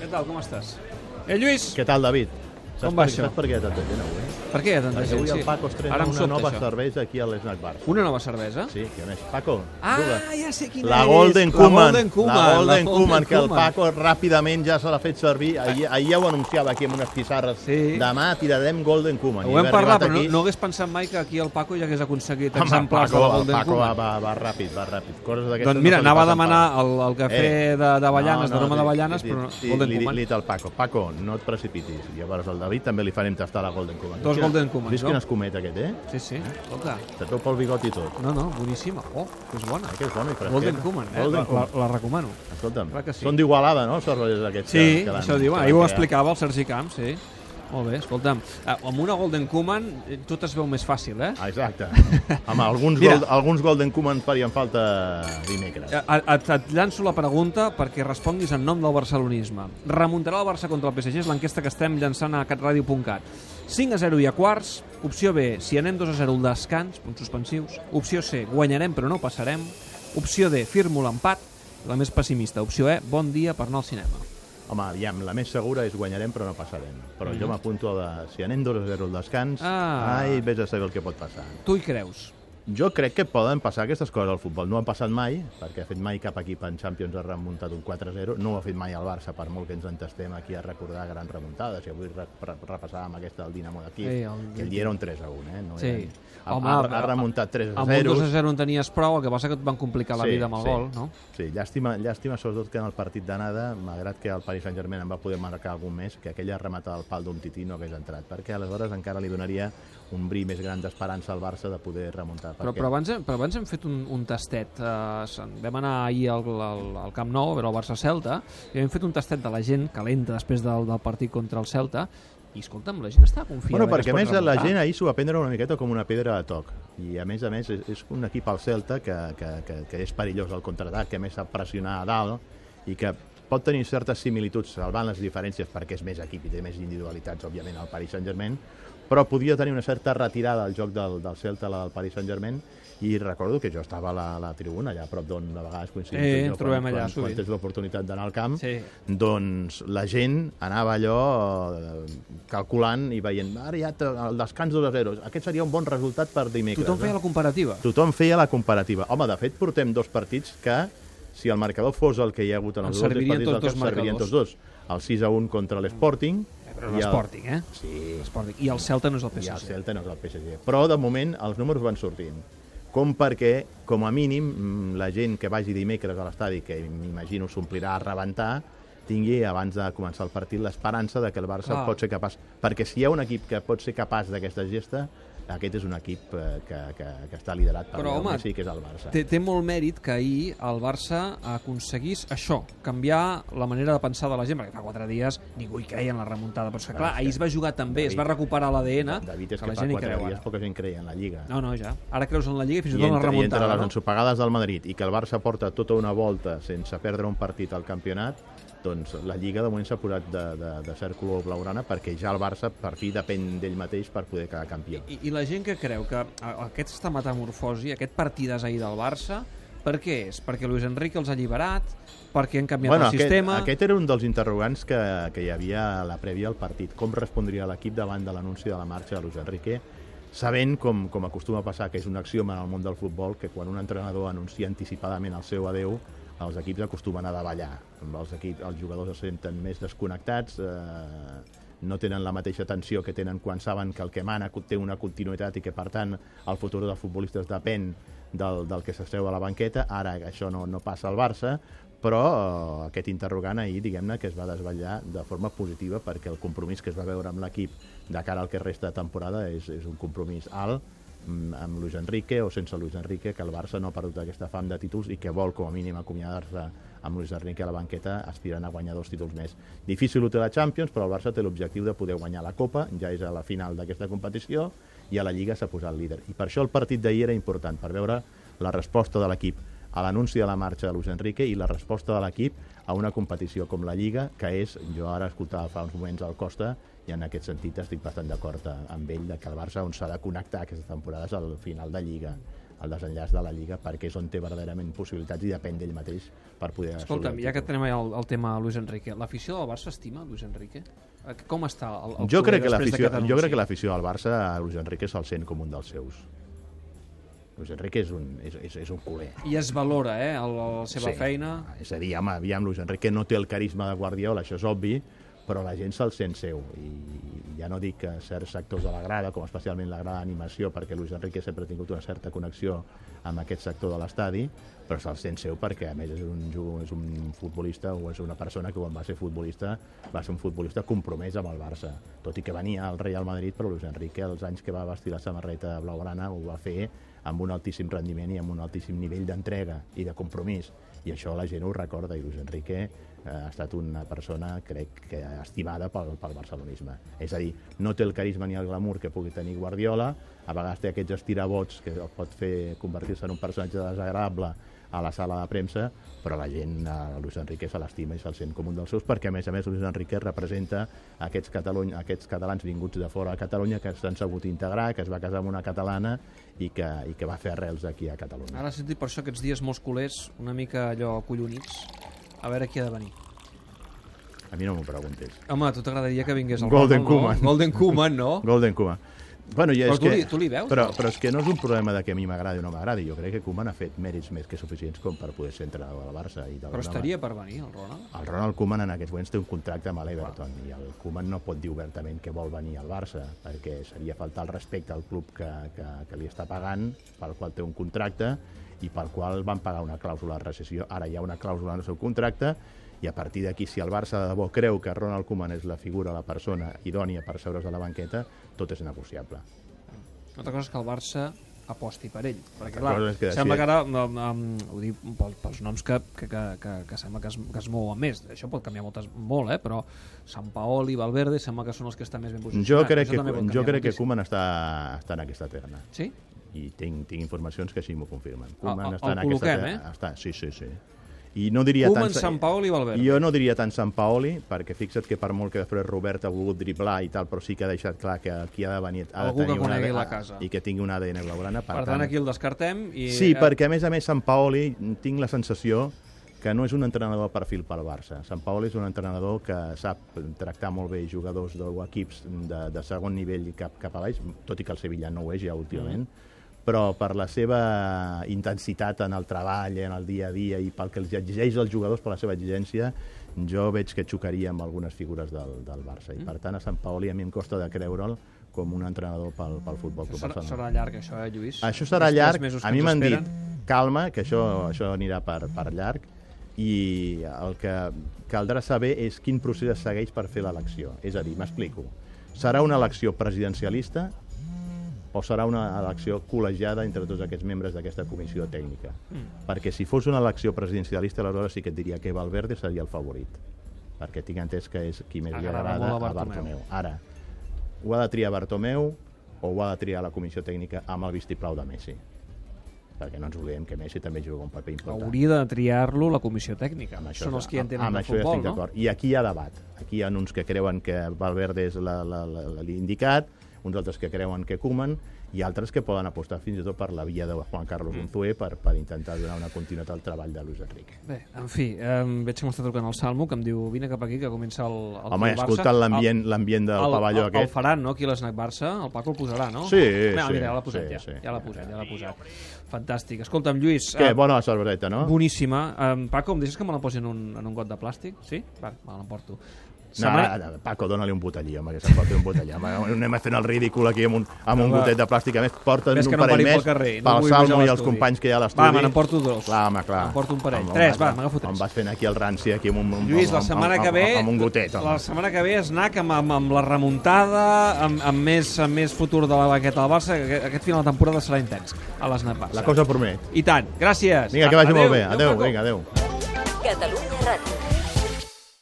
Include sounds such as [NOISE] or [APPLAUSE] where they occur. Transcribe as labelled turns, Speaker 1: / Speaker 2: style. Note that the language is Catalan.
Speaker 1: Pascal, com estàs? Eh, Lluís,
Speaker 2: Què tal, David?
Speaker 1: Com va
Speaker 2: per,
Speaker 1: això?
Speaker 2: Saps per què tanta gent avui?
Speaker 1: per què hi ha tanta
Speaker 2: Perquè
Speaker 1: gent?
Speaker 2: eh? avui
Speaker 1: Sí.
Speaker 2: el Paco estrena
Speaker 1: Ara em
Speaker 2: una
Speaker 1: sobta,
Speaker 2: nova
Speaker 1: això.
Speaker 2: cervesa aquí a l'Snack Bar.
Speaker 1: Una nova cervesa?
Speaker 2: Sí, que més. Paco,
Speaker 1: Ah,
Speaker 2: juga.
Speaker 1: ja sé quina
Speaker 2: La
Speaker 1: és.
Speaker 2: Golden Cuman.
Speaker 1: La Golden Cuman.
Speaker 2: La Golden
Speaker 1: la
Speaker 2: Cuman, que el
Speaker 1: Cuman.
Speaker 2: Paco ràpidament ja se l'ha fet servir. Ahir, ahir ja ho anunciava aquí amb unes pissarres.
Speaker 1: Sí.
Speaker 2: Demà tirarem Golden Cuman. I
Speaker 1: Ho hem
Speaker 2: haver
Speaker 1: parlat,
Speaker 2: arribat
Speaker 1: però no,
Speaker 2: aquí-
Speaker 1: no hagués pensat mai que aquí el Paco ja hagués aconseguit
Speaker 2: Home, el
Speaker 1: exemplars de la
Speaker 2: Paco, el
Speaker 1: Golden
Speaker 2: Paco va,
Speaker 1: Cuman.
Speaker 2: va, va ràpid, va ràpid. Coses d'aquestes
Speaker 1: Doncs mira,
Speaker 2: no se li
Speaker 1: anava a
Speaker 2: passen
Speaker 1: demanar
Speaker 2: pas.
Speaker 1: el, el cafè
Speaker 2: Eh,
Speaker 1: de, d'avellanes, de
Speaker 2: no,
Speaker 1: Roma
Speaker 2: li-
Speaker 1: d'avellanes,
Speaker 2: li-
Speaker 1: però no,
Speaker 2: sí,
Speaker 1: Golden
Speaker 2: li,
Speaker 1: Cuman.
Speaker 2: Li, dit al Paco, Paco, no et precipitis. I llavors al David també li farem tastar la Golden Cuman.
Speaker 1: Dos
Speaker 2: Quina-
Speaker 1: Golden Cumans,
Speaker 2: Vist
Speaker 1: no?
Speaker 2: quin escomet aquest, eh?
Speaker 1: Sí, sí, escolta.
Speaker 2: Te treu pel bigot i tot.
Speaker 1: No, no, boníssima. Oh, que és bona.
Speaker 2: Aquest és bona i fresqueta.
Speaker 1: Golden Cuman, eh?
Speaker 2: Golden
Speaker 1: La, la,
Speaker 2: Cuman.
Speaker 1: la recomano.
Speaker 2: Escolta'm,
Speaker 1: Clar que sí.
Speaker 2: són d'Igualada, no, els cervellers aquests?
Speaker 1: Sí,
Speaker 2: l'han-
Speaker 1: això ho diu.
Speaker 2: que
Speaker 1: Ahir
Speaker 2: l'han
Speaker 1: ho
Speaker 2: creat.
Speaker 1: explicava el Sergi Camps, sí. Molt bé, escolta'm. Ah, Amb una Golden Cuman eh, tot es veu més fàcil, eh?
Speaker 2: Ah,
Speaker 1: [LAUGHS]
Speaker 2: Exacte. Home, alguns,
Speaker 1: Mira.
Speaker 2: gold, alguns Golden Cuman farien falta dimecres.
Speaker 1: Eh, Et, et llanço la pregunta perquè responguis en nom del barcelonisme. Remuntarà el Barça contra el PSG? És l'enquesta que estem llançant a catradio.cat. 5 a 0 i a quarts. Opció B, si anem 2 a 0 al descans, punts suspensius. Opció C, guanyarem però no passarem. Opció D, firmo l'empat. La més pessimista. Opció E, bon dia per anar al cinema.
Speaker 2: Home, aviam, la més segura és guanyarem però no passarem. Però jo m'apunto a de... Si anem 2 a 0 al
Speaker 1: Mm.
Speaker 2: descans,
Speaker 1: Ah.
Speaker 2: ai, vés a saber el que pot passar.
Speaker 1: Tu hi creus?
Speaker 2: Jo crec que poden passar aquestes coses al futbol. No han passat mai, perquè ha fet mai cap equip en Champions ha remuntat un 4-0. No ho ha fet mai el Barça, per molt que ens entestem aquí a recordar grans remuntades. I avui re re repassàvem aquesta del Dinamo de Kiev,
Speaker 1: Sí,
Speaker 2: sí,
Speaker 1: el-
Speaker 2: el... que el dia era un 3-1. Eh? No
Speaker 1: Sí.
Speaker 2: eren- ha,
Speaker 1: Home,
Speaker 2: ha,
Speaker 1: amb-
Speaker 2: ha, remuntat 3-0.
Speaker 1: Amb un 2 a 0 en tenies prou, el que passa que et van complicar la vida amb el gol, no?
Speaker 2: Sí, llàstima, llàstima sobretot que en el partit d'anada, malgrat que el Paris Saint-Germain en va poder marcar algun més, que aquella rematada al pal d'un tití no hagués entrat, perquè aleshores encara li donaria un bri més gran d'esperança al Barça de poder remuntar.
Speaker 1: Però,
Speaker 2: perquè-
Speaker 1: però, abans, hem- però abans hem fet un, un tastet. Eh, se'n- vam anar ahir al, al, al Camp Nou a veure el Barça-Celta i hem fet un tastet de la gent calenta després del, del partit contra el Celta i, escolta'm, la gent està confiada.
Speaker 2: Bueno,
Speaker 1: que es
Speaker 2: perquè a
Speaker 1: pot
Speaker 2: més la
Speaker 1: remuntar.
Speaker 2: gent ahir s'ho va prendre una miqueta com una pedra de toc i a més a més és, és un equip al Celta que, que, que, que és perillós al contraatac, que a més sap pressionar a dalt i que pot tenir certes similituds salvant les diferències perquè és més equip i té més individualitats òbviament al Paris Saint-Germain però podia tenir una certa retirada al joc del, del Celta, la del Paris Saint-Germain i recordo que jo estava a la, a la tribuna allà a prop d'on de vegades coincidim
Speaker 1: Eh,
Speaker 2: tu i
Speaker 1: ens
Speaker 2: jo,
Speaker 1: trobem
Speaker 2: quan,
Speaker 1: allà
Speaker 2: quan,
Speaker 1: sovint.
Speaker 2: quan tens l'oportunitat d'anar al camp
Speaker 1: Sí.
Speaker 2: doncs la gent anava allò eh, calculant i veient ara ja te- el descans 2 a 0, aquest seria un bon resultat per dimecres.
Speaker 1: Tothom feia
Speaker 2: eh?"
Speaker 1: la comparativa.
Speaker 2: Tothom feia la comparativa. Home, de fet, portem dos partits que, si el marcador fos el que hi ha hagut en
Speaker 1: Ens
Speaker 2: els dos
Speaker 1: servirien
Speaker 2: partits,
Speaker 1: tots
Speaker 2: del
Speaker 1: dos
Speaker 2: Camp, servirien
Speaker 1: marcadors.
Speaker 2: tots dos. El 6 a 1 contra l'Sporting.
Speaker 1: Però
Speaker 2: i el-
Speaker 1: l'Sporting, eh?
Speaker 2: Sí,
Speaker 1: L'Sporting. I el Celta no és el
Speaker 2: i el
Speaker 1: PSG.
Speaker 2: Celta no és el PSG. Però, de moment, els números van sortint. Com perquè, com a mínim, mm, la gent que vagi dimecres a l'estadi, que m'imagino s'omplirà a rebentar, tingui, abans de començar el partit, l'esperança de que el Barça
Speaker 1: Clar.
Speaker 2: pot ser capaç... Perquè si hi ha un equip que pot ser capaç d'aquesta gesta, aquest és un equip eh, que, que, que està liderat per
Speaker 1: Però,
Speaker 2: Lionel
Speaker 1: home,
Speaker 2: Messi, que és el Barça.
Speaker 1: Té, té molt mèrit que ahir el Barça aconseguís això, canviar la manera de pensar de la gent, perquè fa quatre dies ningú hi creia en la remuntada, però és que clar, ahir es va jugar també, es va recuperar l'ADN,
Speaker 2: David, és
Speaker 1: que
Speaker 2: que,
Speaker 1: la
Speaker 2: fa
Speaker 1: gent hi
Speaker 2: quatre
Speaker 1: creu
Speaker 2: dies
Speaker 1: ara.
Speaker 2: poca gent creia en la Lliga.
Speaker 1: No, no, ja. Ara creus en la Lliga i fins
Speaker 2: I tota
Speaker 1: i tot en la
Speaker 2: entre, I entre
Speaker 1: remuntada,
Speaker 2: les
Speaker 1: no?
Speaker 2: ensopegades del Madrid i que el Barça porta tota una volta sense perdre un partit al campionat, doncs la Lliga de moment s'ha posat de, de, de cert color blaugrana perquè ja el Barça per fi depèn d'ell mateix per poder quedar campió.
Speaker 1: I, I la gent que creu que a- aquesta metamorfosi, aquest partidàs ahir del Barça, per què és? Perquè Luis Enrique els ha alliberat, perquè han canviat el
Speaker 2: aquest,
Speaker 1: sistema...
Speaker 2: aquest era un dels interrogants que, que hi havia a la prèvia al partit. Com respondria l'equip davant de l'anunci de la marxa de Luis Enrique? Sabent, com, com acostuma a passar, que és un axioma en el món del futbol, que quan un entrenador anuncia anticipadament el seu adeu, els equips acostumen a davallar. Els, equips, els jugadors es senten més desconnectats, eh, no tenen la mateixa tensió que tenen quan saben que el que mana té una continuïtat i que, per tant, el futur dels futbolistes depèn del, del que s'asseu a la banqueta. Ara això no, no passa al Barça, però eh, aquest interrogant ahir, diguem-ne, que es va desvetllar de forma positiva perquè el compromís que es va veure amb l'equip de cara al que resta de temporada és, és un compromís alt mm, amb Luis Enrique o sense Luis Enrique, que el Barça no ha perdut aquesta fam de títols i que vol, com a mínim, acomiadar-se amb Luis Enrique a la banqueta, aspirant a guanyar dos títols més. Difícil ho té la Champions, però el Barça té l'objectiu de poder guanyar la Copa, ja és a la final d'aquesta competició, i a la Lliga s'ha posat líder. I per això el partit d'ahir era important, per veure la resposta de l'equip a l'anunci de la marxa de Luis Enrique i la resposta de l'equip a una competició com la Lliga, que és, jo ara escoltava fa uns moments al Costa, i en aquest sentit estic bastant d'acord eh, amb ell, de que el Barça on s'ha de connectar aquesta temporada és al final de Lliga. el desenllaç de la Lliga perquè és on té verdaderament possibilitats i depèn d'ell mateix per poder assolir
Speaker 1: Escolta'm,
Speaker 2: el
Speaker 1: ja que
Speaker 2: títol.
Speaker 1: tenim el, el tema Luis Enrique, l'afició del Barça estima Luis Enrique? Eh, Com està el, el
Speaker 2: jo
Speaker 1: culer
Speaker 2: crec, que
Speaker 1: després
Speaker 2: l'afició,
Speaker 1: d'aquest
Speaker 2: jo crec
Speaker 1: anunci?
Speaker 2: que l'afició del Barça, a Luis Enrique se'l sent com un dels seus. Luis Enrique és un, és, és, és un culer.
Speaker 1: I es valora, eh, el, la seva feina.
Speaker 2: És a dir, home, aviam, Luis Enrique no té el carisma de Guardiola, això és obvi, però la gent se'l sent seu. I ja no dic que certs sectors de la grada, com especialment la grada d'animació, perquè Luis Enrique sempre ha tingut una certa connexió amb aquest sector de l'estadi, però se'l sent seu perquè, a més, és un, ju- és un futbolista o és una persona que quan va ser futbolista va ser un futbolista compromès amb el Barça. Tot i que venia al Real Madrid, però Luis Enrique, els anys que va vestir la samarreta blaugrana, ho va fer amb un altíssim rendiment i amb un altíssim nivell d'entrega i de compromís i això la gent ho recorda i Luis Enrique eh, ha estat una persona crec que estimada pel, pel barcelonisme és a dir, no té el carisma ni el glamour que pugui tenir Guardiola a vegades té aquests estirabots que el pot fer convertir-se en un personatge desagradable a la sala de premsa, però la gent a Luis Enrique se l'estima i se'l sent com un dels seus, perquè a més a més Luis Enrique representa aquests, Catalunya, aquests catalans vinguts de fora a Catalunya que s'han sabut integrar, que es va casar amb una catalana i que, i que va fer arrels aquí a Catalunya.
Speaker 1: Ara he sentit per això aquests dies molts culers, una mica allò collonits, a veure qui ha de venir.
Speaker 2: A mi no m'ho preguntis.
Speaker 1: Home, a tu t'agradaria que vingués el Ronald,
Speaker 2: Golden Koeman.
Speaker 1: No? Golden Koeman,
Speaker 2: [LAUGHS]
Speaker 1: no?
Speaker 2: Golden Koeman. Bueno, ja
Speaker 1: Però
Speaker 2: és
Speaker 1: tu
Speaker 2: que,
Speaker 1: li- tu li veus,
Speaker 2: Però,
Speaker 1: no?
Speaker 2: però és que no és un problema de que a mi m'agradi o no m'agradi. Jo crec que Koeman ha fet mèrits més que suficients com per poder ser entrenador de la Barça. I
Speaker 1: Però estaria per venir, el Ronald.
Speaker 2: El Ronald Koeman en aquests moments té un contracte amb l'Everton i el Koeman no pot dir obertament que vol venir al Barça perquè seria faltar el respecte al club que, que, que li està pagant, pel qual té un contracte i pel qual van pagar una clàusula de recessió. Ara hi ha una clàusula en el seu contracte i a partir d'aquí, si el Barça de debò creu que Ronald Koeman és la figura, la persona idònia per seure's a la banqueta, tot és negociable.
Speaker 1: Una altra cosa és que el Barça aposti per ell. Perquè,
Speaker 2: Una
Speaker 1: clar,
Speaker 2: cosa és que
Speaker 1: sembla
Speaker 2: sí.
Speaker 1: que ara, um, um, ho dic pel, pels noms que, que, que, que, que sembla que es, que es mouen més. Això pot canviar moltes, molt, eh? Però Sant Paoli i Valverde sembla que són els que estan més ben posicionats.
Speaker 2: Jo crec
Speaker 1: Doncs Això
Speaker 2: que,
Speaker 1: també pot
Speaker 2: jo
Speaker 1: canviar
Speaker 2: crec que
Speaker 1: moltíssim.
Speaker 2: Koeman està, està en aquesta terna.
Speaker 1: Sí?
Speaker 2: i tinc, tinc informacions que així m'ho confirmen.
Speaker 1: el-
Speaker 2: Koeman
Speaker 1: Ah, el col·loquem, eh?
Speaker 2: Està, sí, sí, sí. I no diria
Speaker 1: Koeman,
Speaker 2: tant...
Speaker 1: Sant Paoli i Valverde.
Speaker 2: Jo no diria tant Sant Paoli, perquè fixa't que per molt que després Robert ha volgut driblar i tal, però sí que ha deixat clar que qui ha de venir ha
Speaker 1: Algú que
Speaker 2: de tenir una
Speaker 1: conegui
Speaker 2: ADN
Speaker 1: la casa.
Speaker 2: i que tingui una ADN blaugrana. Per,
Speaker 1: Per tant, aquí el descartem. I,
Speaker 2: Sí,
Speaker 1: eh,
Speaker 2: perquè a més a més Sant Paoli tinc la sensació que no és un entrenador de perfil pel Barça. Sant Paoli és un entrenador que sap tractar molt bé jugadors de- o equips de, de segon nivell i cap, cap a baix, tot i que el Sevilla no ho és ja últimament, però per la seva intensitat en el treball, en el dia a dia i pel que els exigeix als jugadors per la seva exigència, jo veig que xocaria amb algunes figures del, del Barça. I per tant, a Sant Paoli a mi em costa de creure'l com un entrenador pel, pel futbol club
Speaker 1: Serà,
Speaker 2: Barcelona.
Speaker 1: serà llarg, això, eh, Lluís?
Speaker 2: Això
Speaker 1: Aquests
Speaker 2: serà
Speaker 1: tres
Speaker 2: llarg.
Speaker 1: mesos que
Speaker 2: A mi
Speaker 1: ens
Speaker 2: m'han
Speaker 1: esperen.
Speaker 2: dit, calma, que això, això anirà per, per llarg, i el que caldrà saber és quin procés es segueix per fer l'elecció. És a dir, m'explico. Serà una elecció presidencialista o serà una elecció col·legiada entre tots aquests membres d'aquesta comissió tècnica? Mm. Perquè si fos una elecció presidencialista, aleshores sí que et diria que Valverde seria el favorit, perquè tinc entès que és qui més li
Speaker 1: Agrada
Speaker 2: agrada
Speaker 1: molt a
Speaker 2: a
Speaker 1: Bartomeu.
Speaker 2: Bartomeu. Ara, ho ha de triar Bartomeu o ho ha de triar la comissió tècnica amb el vistiplau de Messi? Perquè no ens oblidem que Messi també juga un paper important.
Speaker 1: Hauria de triar-lo la comissió tècnica.
Speaker 2: Amb això,
Speaker 1: Són els que hi
Speaker 2: amb-
Speaker 1: entenen
Speaker 2: amb
Speaker 1: de
Speaker 2: això ja
Speaker 1: futbol,
Speaker 2: estic
Speaker 1: no?
Speaker 2: d'acord. I aquí hi ha debat. Aquí hi ha uns que creuen que Valverde és la- la- la- l'indicat, uns altres que creuen que Koeman, i altres que poden apostar fins i tot per la via de Juan Carlos Unzué per, per intentar donar una continuïtat al treball de Luis Enrique.
Speaker 1: Bé, en fi, eh, veig que m'està trucant el Salmo, que em diu, vine cap aquí, que comença el, el
Speaker 2: Home, he
Speaker 1: Club Barça.
Speaker 2: escoltat l'ambient l'ambient del
Speaker 1: El-
Speaker 2: el,
Speaker 1: el-
Speaker 2: pavelló
Speaker 1: el, el
Speaker 2: aquest.
Speaker 1: faran, no?, aquí a l'Snac Barça. El Paco el posarà, no?
Speaker 2: Sí,
Speaker 1: Mira,
Speaker 2: sí,
Speaker 1: mira, ja l'ha posat,
Speaker 2: sí,
Speaker 1: ja.
Speaker 2: sí.
Speaker 1: Ja l'ha posat, ja l'ha posat. Fantàstic. Escolta'm, Lluís...
Speaker 2: Què,
Speaker 1: eh,
Speaker 2: bona la cerveseta, no?
Speaker 1: Boníssima. Um, Paco, em deixes que me la posi en un, en un got de plàstic? Sí? Va, me l'emporto.
Speaker 2: No, ara, ara, Paco, dóna-li un botellí, home, que se'n pot fer un botellí. Home, [LAUGHS] anem fent el ridícul aquí amb un, amb un
Speaker 1: Home.
Speaker 2: gotet de plàstic. A més, porten
Speaker 1: Ves
Speaker 2: un
Speaker 1: que no
Speaker 2: parell
Speaker 1: parim pel
Speaker 2: més
Speaker 1: carrer, no vull
Speaker 2: pel
Speaker 1: pujar a
Speaker 2: Salmo i els
Speaker 1: l'estudi.
Speaker 2: companys que hi ha a l'estudi.
Speaker 1: Va, me n'emporto dos.
Speaker 2: Clar, home, clar.
Speaker 1: M'emporto un parell.
Speaker 2: Home,
Speaker 1: Tres,
Speaker 2: home,
Speaker 1: va, m'agafo tres.
Speaker 2: Em vas fent aquí el ranci, aquí amb un... Amb,
Speaker 1: Lluís, la
Speaker 2: amb-
Speaker 1: setmana
Speaker 2: amb,
Speaker 1: que ve...
Speaker 2: Amb, amb un gotet, home.
Speaker 1: La setmana que ve es anar amb, amb, amb la remuntada, amb, amb, més, amb més futur de la banqueta del Barça, que aquest- aquest final de temporada serà intens a l'Snac Barça.
Speaker 2: La cosa promet.
Speaker 1: I tant, gràcies.
Speaker 2: Vinga, que vagi
Speaker 1: Adéu,
Speaker 2: molt bé. Adéu,
Speaker 1: Paco.
Speaker 2: vinga, adéu.
Speaker 3: Catalunya Ràdio.